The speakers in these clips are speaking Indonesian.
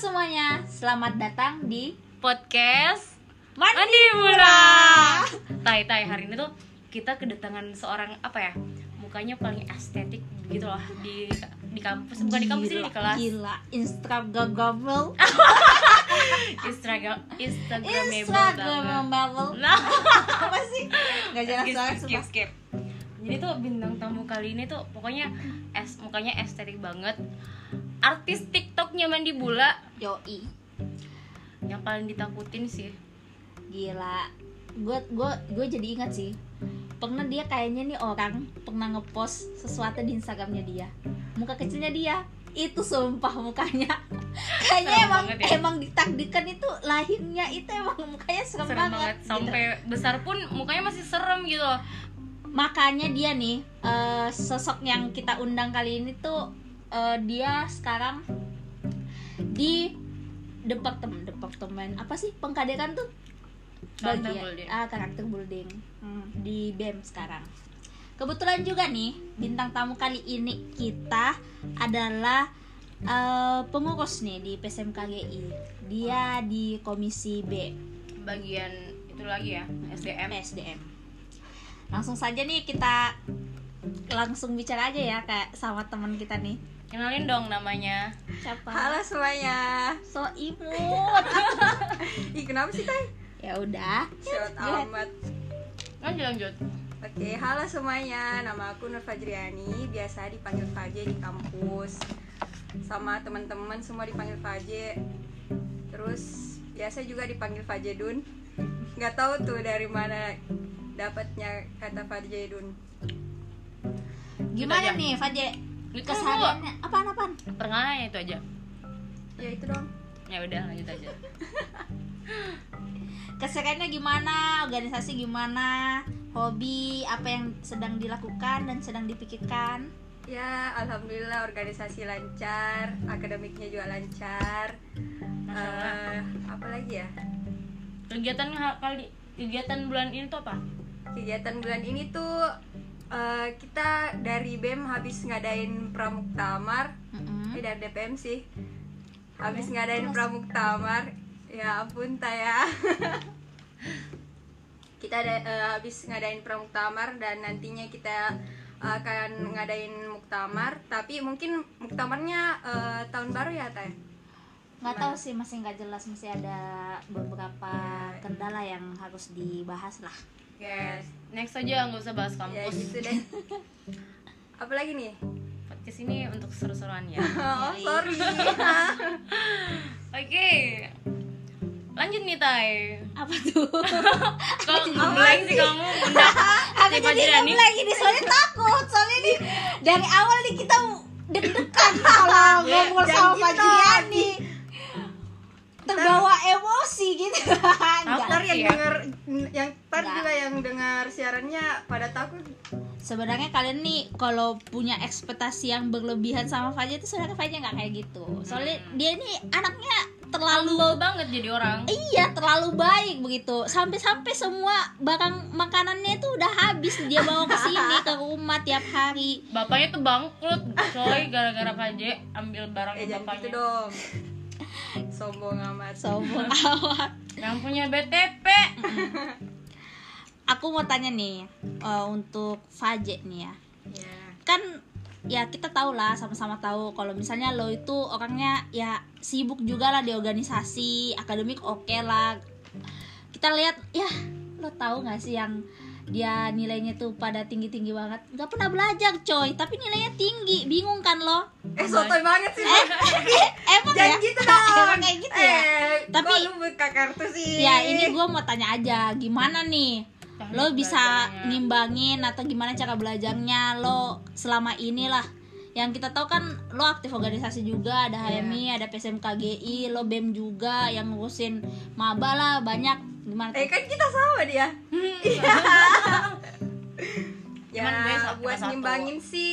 semuanya, selamat datang di podcast Mandi Mandi Murah. Tai tai hari ini tuh kita kedatangan seorang apa ya? Mukanya paling estetik gitu loh di di kampus, bukan di kampus sih di Gila, kelas. Ah, Gila, Instagramable Instagram Instagram Instagramable Apa sih? Gak jelas banget skip sumpah skip. Jadi tuh bintang tamu kali ini tuh pokoknya es mukanya estetik banget. Artis TikToknya Mandi Bula Yoi, yang paling ditakutin sih. gila Gue gua, gua jadi ingat sih Pernah dia kayaknya nih orang pernah ngepost sesuatu di Instagramnya dia Muka kecilnya dia itu sumpah mukanya kayaknya Serem emang banget ya. emang ditakdirkan itu lahirnya itu emang mukanya serem, Serem banget gitu. sampai besar pun mukanya masih serem gitu loh. makanya dia nih eh, sosok yang kita undang kali ini tuh eh, dia sekarang di departemen departemen apa sih pengkaderan tuh Karakter Bagian- building. ah karakter building Hmm, di bem sekarang kebetulan juga nih bintang tamu kali ini kita adalah eh, pengurus nih di PSMKGI dia di komisi B bagian itu lagi ya SDM SDM. Langsung saja nih kita langsung bicara aja ya kayak sama teman kita nih. kenalin dong namanya Siapa? Halo semuanya. So imut. Ih, kenapa sih, Tay? ya udah. Shout Gila. amat. lanjut lanjut Oke, halo semuanya. Nama aku Nur Fajriani, biasa dipanggil Faje di kampus. Sama teman-teman semua dipanggil Faje. Terus biasa juga dipanggil Faje Dun. Nggak tahu tuh dari mana dapatnya kata Faje Dun. Gimana aja. nih Faje? itu dulu Kesehariannya apaan apaan? perkenalannya itu aja Ya itu dong. ya udah lanjut aja Kesehariannya gimana? Organisasi gimana? Hobi apa yang sedang dilakukan dan sedang dipikirkan? Ya, alhamdulillah organisasi lancar, akademiknya juga lancar. Masya Allah. Eh, apa lagi ya? kegiatan ha- kali kegiatan bulan ini tuh apa kegiatan bulan ini tuh eh, kita dari BEM habis ngadain pramuktamar eh Mm-mm. dari DPM sih habis Aduh, ngadain jelas. pramuktamar ya ampun Taya kita ada- eh, habis ngadain pramuktamar dan nantinya kita akan ngadain muktamar tapi mungkin muktamarnya eh, tahun baru ya Taya Nggak tahu sih masih nggak jelas masih ada beberapa kendala yang harus dibahas lah. yes next aja nggak usah bahas ya kampus gitu deh apalagi nih podcast ini untuk seru-seruan ya oh sorry oke lanjut nih Tai Apa tuh? kalau ngeblank sih kamu bunda Aku Tiba jadi Jirani. ngeblank ini soalnya takut Soalnya ini dari awal nih kita deg-degan salah ngobrol sama Pak Jirani Terbawa emosi gitu Enggak. ntar yang Iya. denger yang ntar Enggak. juga yang dengar siarannya pada kan? takut Sebenarnya kalian nih kalau punya ekspektasi yang berlebihan sama Fajar itu sebenarnya Fajar nggak kayak gitu Soalnya dia ini anaknya terlalu humble banget jadi orang Iya terlalu baik begitu sampai-sampai semua barang makanannya itu udah habis dia bawa ke sini ke rumah tiap hari bapaknya tuh bangkrut coy gara-gara Paje ambil barang eh jangan gitu bapaknya dong sombong amat sombong amat yang punya BTP aku mau tanya nih eh, untuk Faje nih ya ya kan ya kita tahu lah sama-sama tahu kalau misalnya lo itu orangnya ya sibuk juga lah di organisasi akademik oke lah kita lihat ya lo tahu nggak sih yang dia nilainya tuh pada tinggi-tinggi banget nggak pernah belajar coy tapi nilainya tinggi bingung kan lo eh sotoy banget sih eh, emang ya jangan gitu dong emang kayak gitu ya eh, Tapi- tapi kok lu buka kartu sih ya ini gue mau tanya aja gimana nih Teknik lo bisa belajarnya. ngimbangin atau gimana cara belajarnya lo selama inilah yang kita tahu kan lo aktif organisasi juga ada HMI ada PSMKGI lo BEM juga yang ngurusin maba lah banyak gimana tuh? eh kan kita sama dia ya Cuman gue sama- buat cuma satu. ngimbangin sih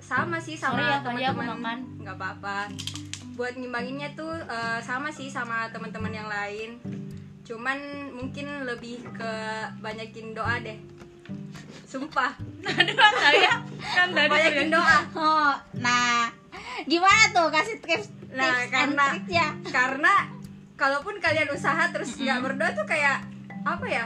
sama sih sama Sorry ya, tadi aku makan. teman-teman nggak apa-apa buat ngimbanginnya tuh eh, sama sih sama teman-teman yang lain cuman mungkin lebih ke banyakin doa deh sumpah aduh saya kan tadi tuh ya. banyakin doa Oh, nah gimana tuh kasih tips Nah, tips and karena trick ya. karena kalaupun kalian usaha terus nggak berdoa tuh kayak apa ya?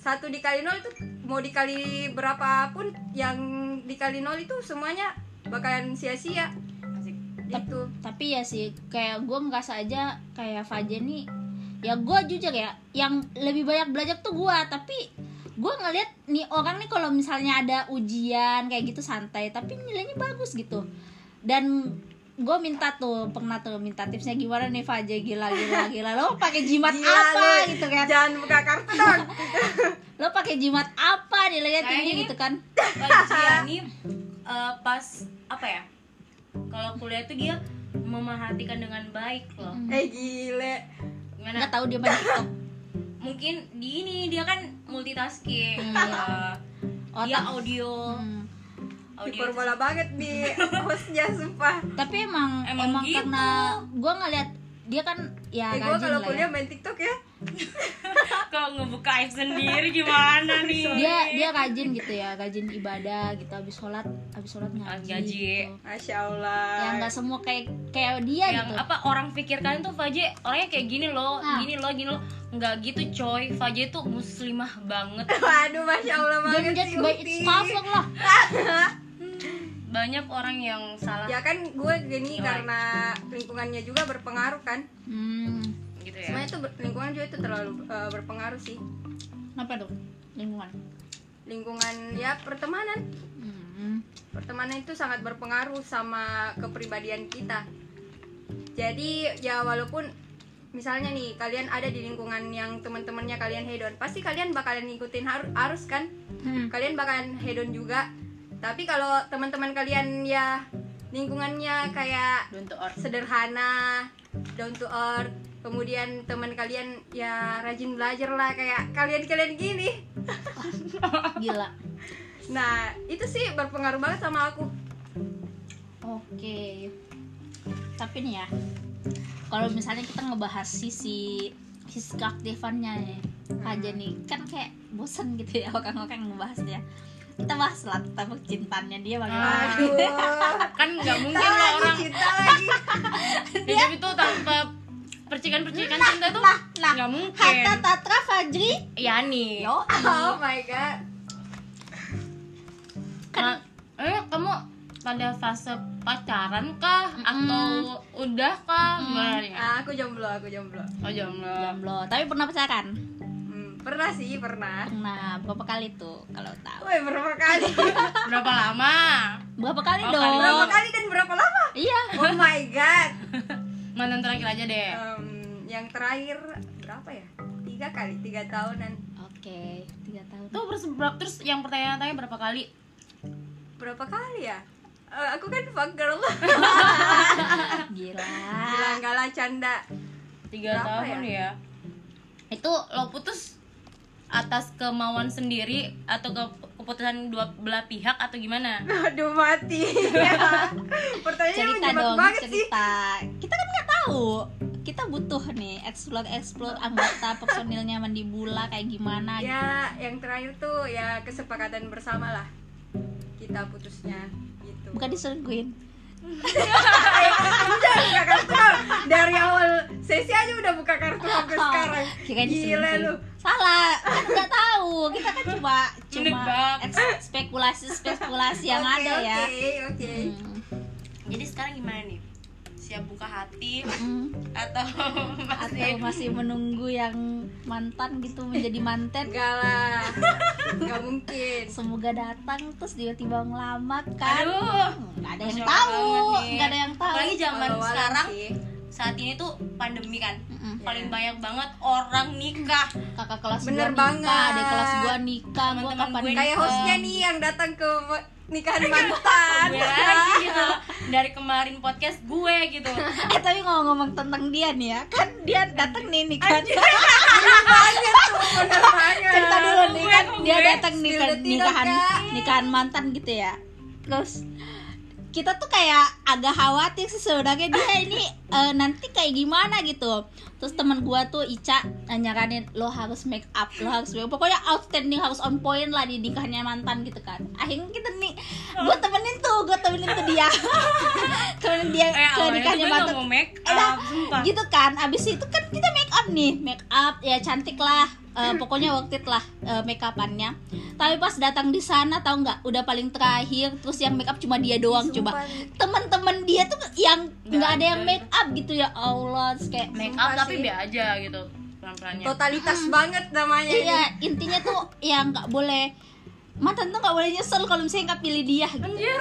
Satu dikali nol itu mau dikali berapapun yang dikali nol itu semuanya bakalan sia-sia Asik. gitu. tapi ya sih kayak gue ngerasa aja kayak Fajar nih ya gue jujur ya yang lebih banyak belajar tuh gue tapi gue ngeliat nih orang nih kalau misalnya ada ujian kayak gitu santai tapi nilainya bagus gitu dan gue minta tuh pernah tuh minta tipsnya gimana nih Fajar gila gila gila lo pakai jimat Gila, apa lu. gitu kan Jangan buka kartu dong. lo pakai jimat apa nilainya tinggi Kayaknya- gitu kan Pajiani eh, pas apa ya? Kalau kuliah tuh dia memerhatikan dengan baik loh. Hmm. eh gile. Gimana? nggak tahu dia main TikTok Mungkin di ini dia kan multitasking. Hmm. eh, dia otak audio, Oh, Hmm. audio. gitu. Hiperbola banget di hostnya sumpah. tapi emang Emang emang, gitu. karena gue ngeliat dia kan ya Eh gua rajin kalau lah kuliah ya. main TikTok ya. Kalau ngebuka aib sendiri gimana nih? dia dia rajin gitu ya rajin ibadah gitu habis sholat habis sholat ngaji, Ngaji. gitu. Masya Allah. ya nggak semua kayak kayak dia yang gitu apa orang pikirkan tuh Faje orangnya kayak gini loh, Nah. gini loh, gini loh. Nggak gitu coy, Faje tuh muslimah banget. Waduh, masya Allah Don't banget judge sih by Uti. its cover lah Banyak orang yang Iya. salah Ya kan gue Oh, gini karena lingkungannya juga berpengaruh kan. hmm, gitu ya. Semuanya tuh ber- lingkungan juga itu terlalu eh, berpengaruh sih. kenapa dong lingkungan Lingkungan ya pertemanan. hmm. Pertemanan itu sangat berpengaruh sama kepribadian kita. Jadi ya walaupun misalnya nih kalian ada di lingkungan yang teman-temannya kalian hedon, pasti kalian bakalan ngikutin haru- arus kan? Hmm. kalian bakalan hedon juga tapi kalau teman-teman kalian ya lingkungannya kayak Down to earth. sederhana down to earth kemudian teman kalian ya rajin belajar lah kayak kalian kalian gini gila nah itu sih berpengaruh banget sama aku oke tapi nih ya kalau misalnya kita ngebahas sisi sisi keaktifannya nih Hmm. aja nih kan kayak bosen gitu ya orang-orang ngebahasnya kita bahas lah tentang percintaannya dia Ah. bagaimana aduh kan nggak Iya, mungkin cinta lah lagi orang cinta lagi hidup itu tanpa percikan-percikan cinta tuh nah, nah. nggak mungkin Iya, Hatta Tatra Fajri Yani Yo oh my god Ma- eh kamu pada fase pacaran kah atau udah kah gimana Iya. nih Ah, aku jomblo aku jomblo oh jomblo Jomblo Tapi pernah pacaran? Hmm, pernah sih pernah Pernah Berapa kali tuh kalau tahu Woi berapa kali Oh. berapa lama Berapa kali Berapa dong? kali? berapa kali dan berapa lama Iya oh my god mantan terakhir aja deh Em, yang terakhir berapa ya tiga kali tiga tahunan Oke Tiga tahun tuh terus ber- terus yang pertanyaan-tanya berapa kali berapa kali ya Eh, aku kan fuck girl Gila gila nggak lah canda tiga Berapa tahun ya? itu lo putus atas kemauan sendiri atau ke- keputusan dua belah pihak atau gimana aduh mati Ya. pertanyaannya Cerita menjebak dong banget sih Cerita Kita kan nggak tahu Kita butuh nih Explore-explore anggota personilnya Mandibula Kayak gimana gitu. ya yang terakhir tuh ya kesepakatan bersama lah kita putusnya gitu Bukan diselingkuhin Udah buka kartu dari awal sesi aja udah buka kartu Oh, sampai sekarang Kirain gila diselingkuhin. lu Salah Kan nggak tahu Kita kan cuma Cuma Menebak. eks- spekulasi-spekulasi yang Oke, ada ya oke oke Hmm. jadi sekarang gimana nih siap buka hati Hmm. atau atau masih masih menunggu yang mantan gitu menjadi mantan enggak lah nggak mungkin semoga datang terus tiba-tiba ngelamar kan aduh nggak ada yang Masya tahu Allah banget nih. nggak ada yang tahu apalagi zaman Walau-walau sekarang sih. saat ini tuh pandemi kan Mm-mm. Ya. paling banyak banget orang nikah kakak kelas Bener gua nikah banget. ada kelas gua nikah gua Teman-teman kapan gue nikah? kayak hostnya nih yang datang ke nikahan mantan Iya. gue lagi gitu dari kemarin podcast gue gitu eh tapi ngomong-ngomong tentang dia nih ya kan dia datang nih nikah bener banget cerita dulu nih Iya, Gue, kan gue. dia datang nih Spill kan the tea dong, nikahan Kak. nikahan mantan gitu ya terus kita tuh kayak agak khawatir sih sebenarnya dia ini eh, nanti kayak gimana gitu terus teman gua tuh Ica eh, nyaranin lo harus make up lo harus make up." pokoknya outstanding harus on point lah di nikahnya mantan gitu kan akhirnya kita nih gue temenin tuh gue temenin tuh dia temenin dia eh ke awalnya tuh nikahnya gue Batu gak mau make Eh, Elah, up sumpah Iya. gitu kan abis itu kan kita make up nih make up ya cantik lah Eh, pokoknya waktu itu lah eh, make upannya tapi pas datang di sana tahu nggak udah paling terakhir terus yang make up cuma dia doang coba Sumpah nih. teman-teman dia tuh yang Nggak nggak ada yang ada. make up gitu ya allah terus kayak make up Sumpah tapi sih. be aja gitu pelan pelannya totalitas banget namanya Hmm. iya intinya tuh ya nggak boleh mantan tuh nggak boleh nyesel kalau misalnya nggak pilih dia gitu. anjir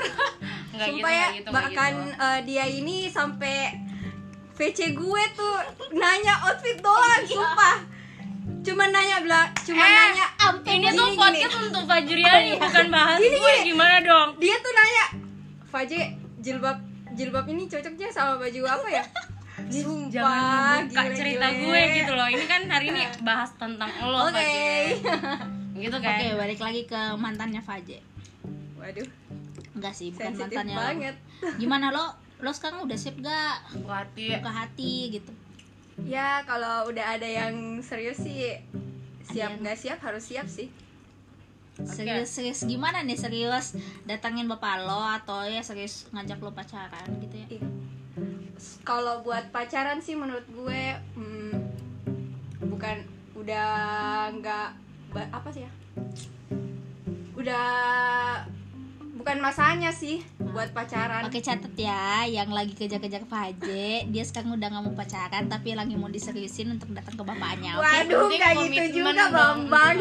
nggak gitu Sumpah ya, nggak gitu nggak bahkan gitu eh, dia ini sampai VC gue tuh nanya outfit doang, sumpah. Cuma nanya belak, cuma Iya. Eh, nanya Iya. sampai ini gini, tuh gini. podcast untuk Fajriani bukan bahas Gini, gue gini. gimana dong Dia tuh nanya, Faje jilbab jilbab ini cocoknya sama baju apa ya? Sumpah, jangan buka gile, cerita gile. gue gitu loh ini kan hari ini bahas tentang lo Nah. Oke. Fajri. gitu oke kan balik lagi ke mantannya Faje Waduh, enggak sih bukan sensitif mantannya lo. banget. gimana lo lo sekarang udah siap gak Wati buka hati gitu Ya, kalau udah ada yang serius sih yang- Iya. siap nggak siap harus siap sih. serius-serius gimana nih serius datangin bapak lo atau ya serius ngajak lo pacaran gitu ya Ih, Iya. kalau buat pacaran sih menurut gue hmm, bukan udah nggak ba- apa sih ya udah bukan masanya sih buat pacaran Oke catet ya, yang lagi kejar-kejar Faje, dia sekarang udah gak mau pacaran tapi lagi mau diseriusin untuk datang ke bapaknya. Oke, waduh penting nggak komitmen gitu juga dong. bambang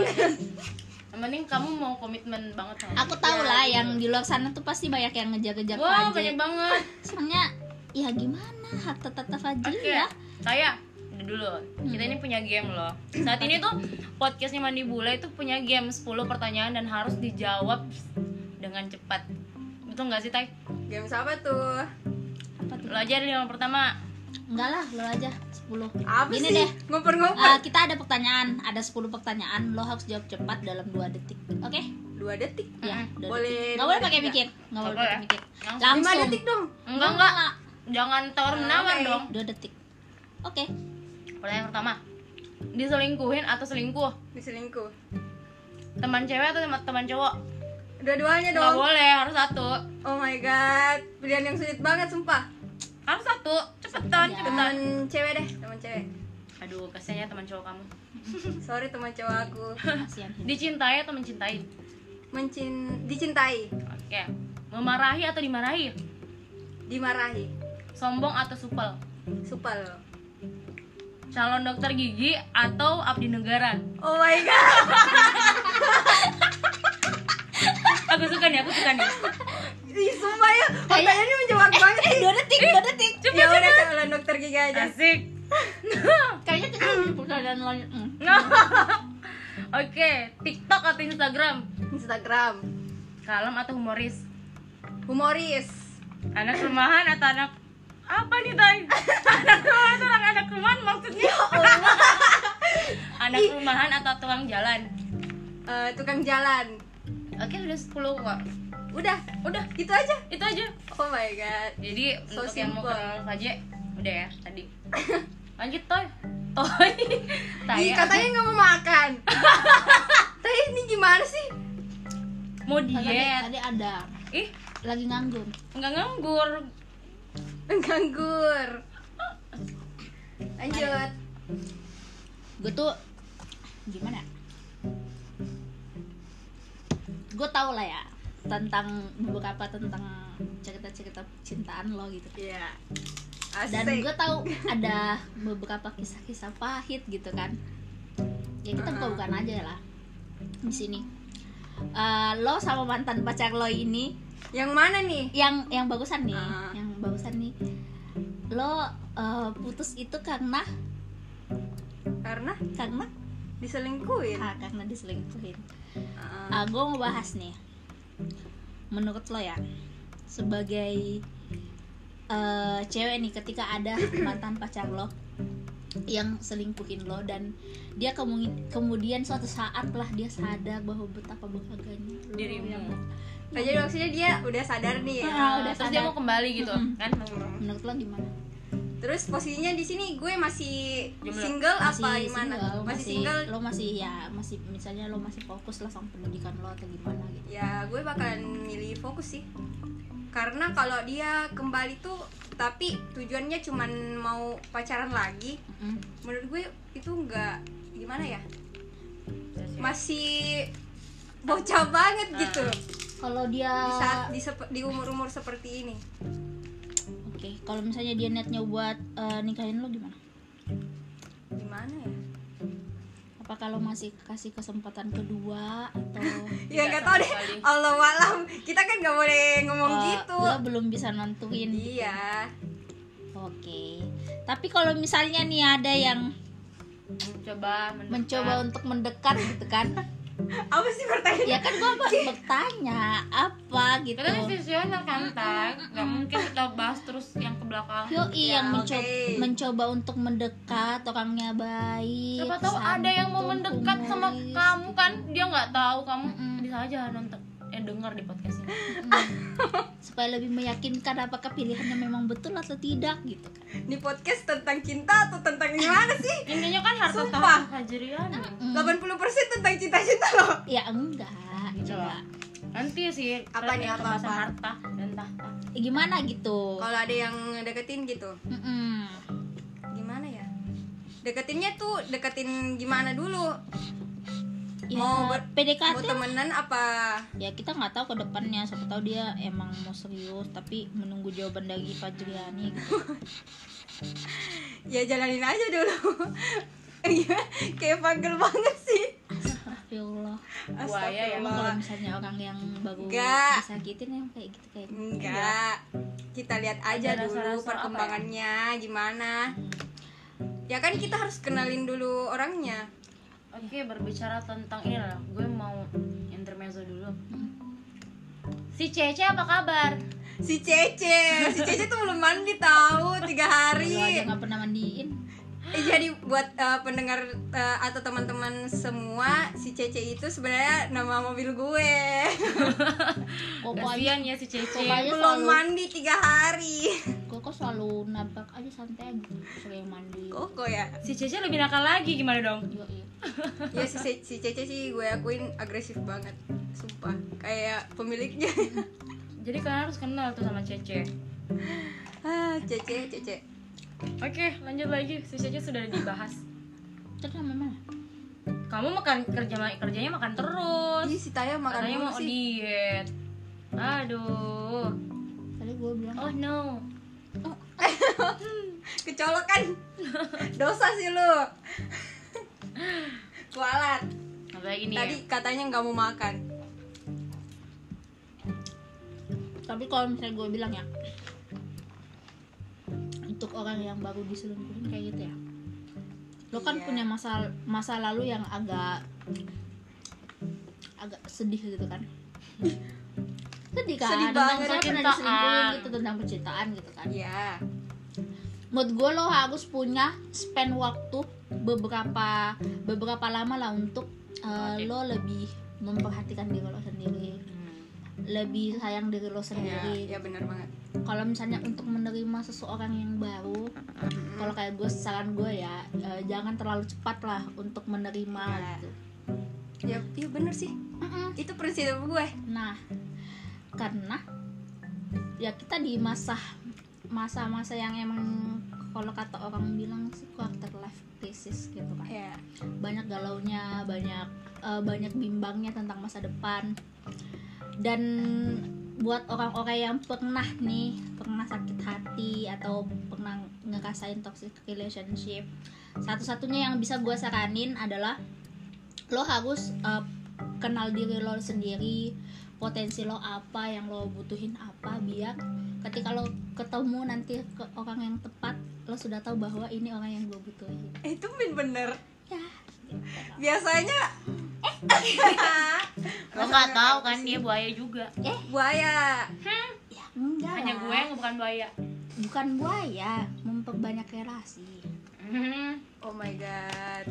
yang penting kamu mau komitmen banget sama aku tau lah yang di luar sana tuh pasti banyak yang ngejar-ngejar Faje. wow banyak banget Soalnya ya gimana hak tetap Faje Oke, ya? Hmm. saya dulu. Kita ini punya game loh. Saat ini tuh podcastnya Mandi Bula itu punya game 10 pertanyaan dan harus dijawab dengan cepat. Betul nggak sih, Tay? game apa tuh Apa tuh? Lo aja deh yang pertama. Enggak lah, lo aja 10 apa Gini sih deh, ngoper-ngoper eh, kita ada pertanyaan, ada 10 pertanyaan, lo harus jawab cepat dalam 2 detik, oke? dua detik Ya, Mm-mm. dua Boleh detik. dua Nggak boleh pakai detik mikir, nggak boleh Nggak pakai boleh. mikir. Langsung. lima Langsung. detik dong Enggak, enggak. Nggak, Jangan tawar menawar Oke. dong. dua detik. Oke. Pertanyaan pertama. Diselingkuhin atau selingkuh? diselingkuh Teman cewek atau teman, teman cowok? dua-duanya Nggak dong boleh, harus satu. oh my god pilihan yang sulit banget sumpah Harus satu. Cepetan, Ya. cepetan. teman cewek deh teman cewek Aduh, kasihannya teman cowok kamu. sorry teman cowok aku Kasihan. Dicintai atau mencintai? mencin dicintai Oke. Memarahi atau dimarahi? dimarahi Sombong atau supel? supel calon dokter gigi atau abdi negara oh my god aku suka nih aku suka nih Ih, sumpah ya pertanyaannya menjawab banget sih Dua detik, dua detik. ya udah calon dokter gigi aja Eh. asik Kayaknya kita lebih pertanyaan lain. Hmm. oke tiktok atau instagram Instagram kalem atau humoris humoris anak rumahan atau anak apa nih tay anak rumahan atau anak, anak rumahan maksudnya anak rumahan atau tukang jalan Eh, tukang jalan oke udah 10 kok udah udah itu aja itu aja oh my god jadi So untuk yang mau simple. kenal Faje udah ya tadi lanjut toy toy ya. Ih, Taya. katanya nggak mau makan tapi ini gimana sih mau Tadi, diet tadi ada ih lagi nganggur. nggak nganggur mengganggur lanjut Gue tuh gimana? Gue tau lah ya tentang beberapa tentang cerita-cerita cintaan lo gitu. ya dan asik gue tahu ada beberapa kisah-kisah pahit gitu kan ya kita buka bukan aja lah di sini Eh, lo sama mantan pacar lo ini yang mana nih yang yang bagusan nih Ah. yang bagusan nih lo eh, putus itu karena karena karena diselingkuhin ah, karena diselingkuhin Ah, Ah. gue mau bahas nih menurut lo ya sebagai eh, cewek nih ketika ada mantan pacar lo yang selingkuhin lo dan dia kemungin- kemudian suatu saat lah dia sadar bahwa betapa berharganya lo ya. Dirimu. yang- Nah, jadi maksudnya dia udah sadar nih ya. Ah, udah terus dia sadar. mau kembali gitu Mm-mm. kan menurut lo gimana? Terus posisinya di sini gue masih Jomblo. single apa masih gimana? single, masih, single. lo masih ya masih misalnya lo masih fokus lah sama pendidikan lo atau gimana gitu Ya gue bakalan milih fokus sih. Karena kalau dia kembali tuh tapi tujuannya cuman mau pacaran lagi, Mm. menurut gue itu nggak gimana ya? Mas Masih bocah Ah. banget gitu kalau dia di saat oke di, sep- di umur-umur seperti ini. kalau misalnya dia niatnya buat eh, nikahin lo gimana Gimana ya? apa kalau masih kasih kesempatan kedua atau Ya Nggak nggak tahu sama deh. sekali. Allah malam kita kan nggak boleh Oh, ngomong eh, gitu. lo belum bisa nentuin gitu? Iya. oke tapi kalau misalnya nih ada yang mencoba mendekat. mencoba untuk mendekat gitu kan Apa sih pertanyaan? ya kan gua bertanya apa gitu Kita kan visioner kan, Tag. Gak mungkin kita bahas terus yang ke belakang. Yoi Ya, yang mencoba, oke. mencoba untuk mendekat orangnya baik. Siapa tahu ada yang mau santun, mendekat sama humoris. kamu kan dia nggak tahu kamu Mm-mm. bisa aja nonton eh dengar di podcast ini. Mm. supaya lebih meyakinkan apakah pilihannya memang betul atau tidak gitu kan. Ini podcast tentang cinta atau tentang gimana sih? Intinya kan harta Sumpah. tahun hajrian. 80% tentang cinta-cinta loh. Ya enggak. Gitu coba. lah. Nanti sih Apa lebih nih, ke apa, bahasa apa? harta dan tahta. Eh, Gimana gitu? Kalau ada yang deketin gitu, Mm-mm. gimana ya? Deketinnya tuh deketin gimana dulu? Ya, Iya. Mau ber- PDKT Mau temenan apa? ya kita nggak tahu ke depannya siapa tahu dia emang mau serius tapi menunggu jawaban dari Fajriani gitu. Ya jalanin aja dulu. Iya, kayak panggil banget sih. Astagfirullah. Buaya ya, Emang kalau Astagfirullah. misalnya orang yang baru Enggak. disakitin yang kayak gitu kayak Enggak. Kita lihat aja Ada dulu rasa-rasa apa ya? perkembangannya gimana. Ya kan kita harus kenalin dulu orangnya. Oke, berbicara tentang ini lah. Gue mau intermezzo dulu. Si Cece apa kabar? Si Cece, si Cece tuh belum mandi tahu tiga Lu Iya, aja hari. nggak pernah mandiin Eh, jadi buat eh, pendengar eh, atau teman-teman semua, si Cece itu sebenarnya nama mobil gue. Iya, kok kok aja Kasian ya si Cece. Kok aja belum selalu mandi tiga hari. kok kok selalu nabrak aja santai aja sering mandi Koko ya. Si Cece lebih nakal lagi gimana dong? Yo, iya. Ya si, Ce- si Cece sih gue akuin agresif banget, sumpah. Kayak pemiliknya. Jadi kalian harus kenal tuh sama Cece. ah, Cece, Cece. Oke, lanjut lagi. Si Cece sudah dibahas. terus sama mana Kamu makan kerja kerjanya makan terus. Ini si Taya makan Katanya dulu mau sih. diet. Aduh. tadi gue bilang Oh no. Kecolokan. Dosa sih lu. Kualat. Apalagi nih? ya? Tadi katanya nggak mau makan. tapi kalau misalnya gue bilang ya untuk orang yang baru diselingkuhin kayak gitu ya lo kan Iya. punya masa masa lalu yang agak agak sedih gitu kan sedih kan Sedih tentang banget. ah. saya pernah Percintaan. diselingkuhin gitu tentang percintaan gitu kan Iya. menurut gue lo harus punya spend waktu beberapa beberapa lama lah untuk uh, Oke. lo lebih memperhatikan diri lo sendiri Hmm. lebih sayang diri lo Iya, sendiri ya benar banget. kalau misalnya untuk menerima seseorang yang baru kalau kayak gue saran gue ya uh, jangan terlalu cepat lah untuk menerima Iya. gitu Ya, ya benar sih. Mm-mm. Itu prinsip gue. nah karena ya kita di masa masa-masa yang emang kalau kata orang bilang sih quarter life crisis gitu kan Ya. Iya. banyak galaunya banyak eh, banyak bimbangnya tentang masa depan dan buat orang-orang yang pernah nih pernah sakit hati atau pernah ngerasain toxic relationship satu-satunya yang bisa gue saranin adalah lo harus eh, kenal diri lo sendiri potensi lo apa yang lo butuhin apa biar ketika lo ketemu nanti ke orang yang tepat lo sudah tahu bahwa ini orang yang gue butuhin Eh, Itu bener-bener. ya gitu. Biasanya Eh. Lo nggak tahu kan dia buaya juga. buaya. Ya, enggak. Hanya lah. gue yang bukan buaya. Bukan buaya, memperbanyak relasi. Hmm. Oh my god.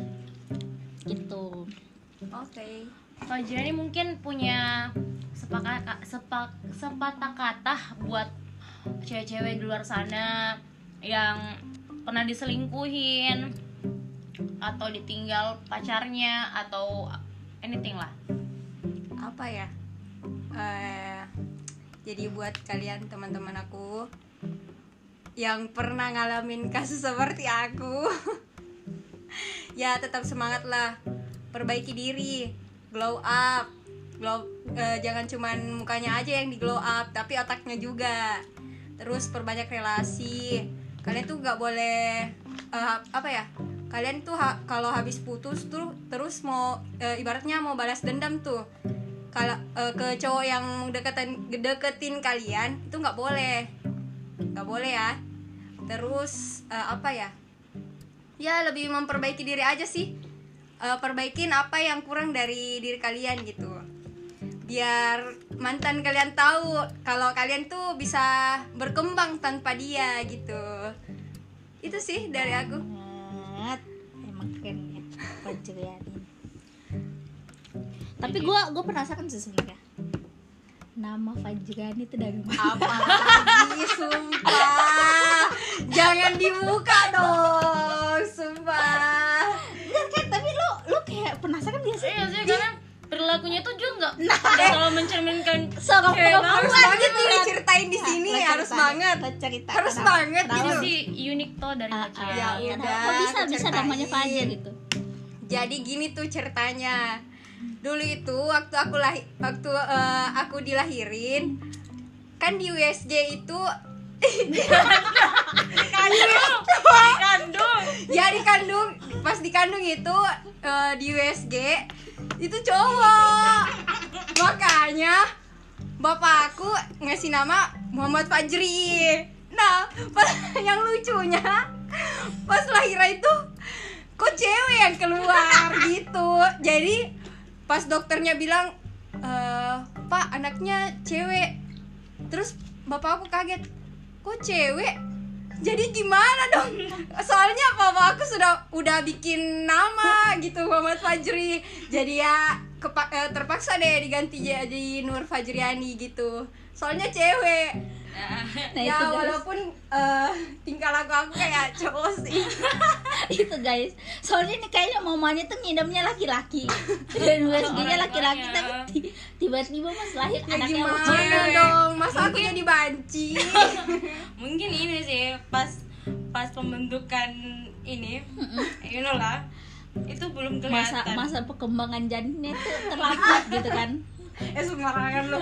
Gitu. Oke. Kalau Jirani mungkin punya sepakat sepak sepatah kata buat cewek-cewek di luar sana yang pernah diselingkuhin atau ditinggal pacarnya atau anything lah apa ya Eh, jadi buat kalian teman-teman aku yang pernah ngalamin kasus seperti aku ya tetap semangat lah perbaiki diri glow up glow eh, jangan cuman mukanya aja yang di glow up tapi otaknya juga terus perbanyak relasi kalian tuh nggak boleh eh, apa ya kalian tuh ha- kalau habis putus tuh terus mau eh, ibaratnya mau balas dendam tuh kalau eh, ke cowok yang deketin deketin kalian itu nggak boleh nggak boleh ya terus eh, apa ya ya lebih memperbaiki diri aja sih Eh, perbaikin apa yang kurang dari diri kalian gitu biar mantan kalian tahu kalau kalian tuh bisa berkembang tanpa dia gitu itu sih dari aku banget emang keren ya Fajriani tapi gue gue penasaran sih sebenarnya nama Fajriani itu dari mana apa lagi sumpah jangan dibuka dong sumpah Enggak kan tapi lu lu kayak penasaran gak sih iya sih karena perilakunya tuh juga nggak nggak terlalu mencerminkan seorang Cewek perempuan harus banget gitu nih kan. diceritain di Nah, sini lu harus ceritain, banget lu ceritain. Harus Kenapa- banget kenapa itu gitu. sih unik tuh dari Ah, pacar ah, Ya kenapa udah, bisa bisa ceritain. namanya Fajar gitu jadi gini tuh ceritanya dulu itu waktu aku lahi- waktu eh, aku dilahirin kan di USG itu kandung ya di kandung pas di kandung itu eh, di USG itu cowok makanya bapak aku ngasih nama Muhammad Fajri nah pas yang lucunya pas lahiran itu kok cewek yang keluar gitu jadi pas dokternya bilang "Eh, pak anaknya cewek terus bapak aku kaget kok cewek jadi gimana dong soalnya bapak aku sudah udah bikin nama gitu Muhammad Fajri jadi ya kepa- eh, terpaksa deh diganti jadi Nur Fajriani gitu soalnya cewek nah ya itu guys walaupun eh, tingkah laku aku kayak cowok sih itu Gitu, guys soalnya ini kayaknya mamanya tuh ngidamnya laki-laki dan USG-nya laki-laki tapi Orang-orangnya. ti- tiba-tiba mas lahir ya anaknya gimana cewek. dong masa aku jadi banci mungkin ini sih pas pas pembentukan ini you know lah itu belum masa kelihatan masa perkembangan janinnya tuh terlambat gitu kan eh sembarangan lo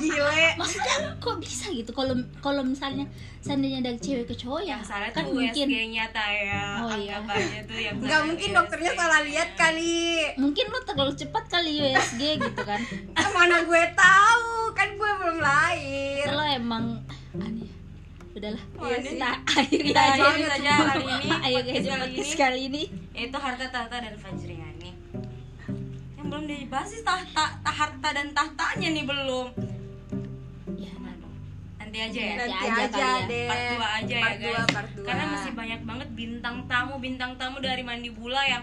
gile maksudnya kok bisa gitu kalau kalau misalnya seandainya dari cewek ke cowok ya yang salah kan tuh mungkin USG-nya Taya Oh, iya. anggapannya tuh yang nggak salah mungkin USG. dokternya salah lihat kali mungkin lu terlalu cepat kali USG gitu kan mana gue tahu kan gue belum lahir kalau emang aneh udahlah Oh, ya, ini- kita akhiri kita aja akhiri aja kali ini, ayo guys podcast kali podcast ini. kali ini Ya, itu harta tahta dan Fajriani yang belum dibahas sih tahta ta- harta dan tahtanya nih belum ya nanti aja ya Iya, nah, nanti aja aja, kali ya. deh part 2 aja part ya guys dua, part dua. karena masih banyak banget bintang tamu bintang tamu dari mandi bula yang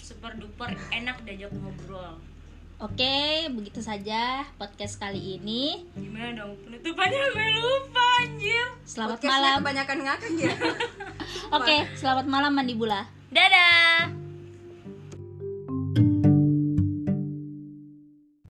super duper enak diajak ngobrol Oke, begitu saja podcast kali ini. gimana dong penutupannya gue lupa anjir Selamat Podcastnya malam. kebanyakan ngakak ya Oke, selamat malam Mandibula. dadah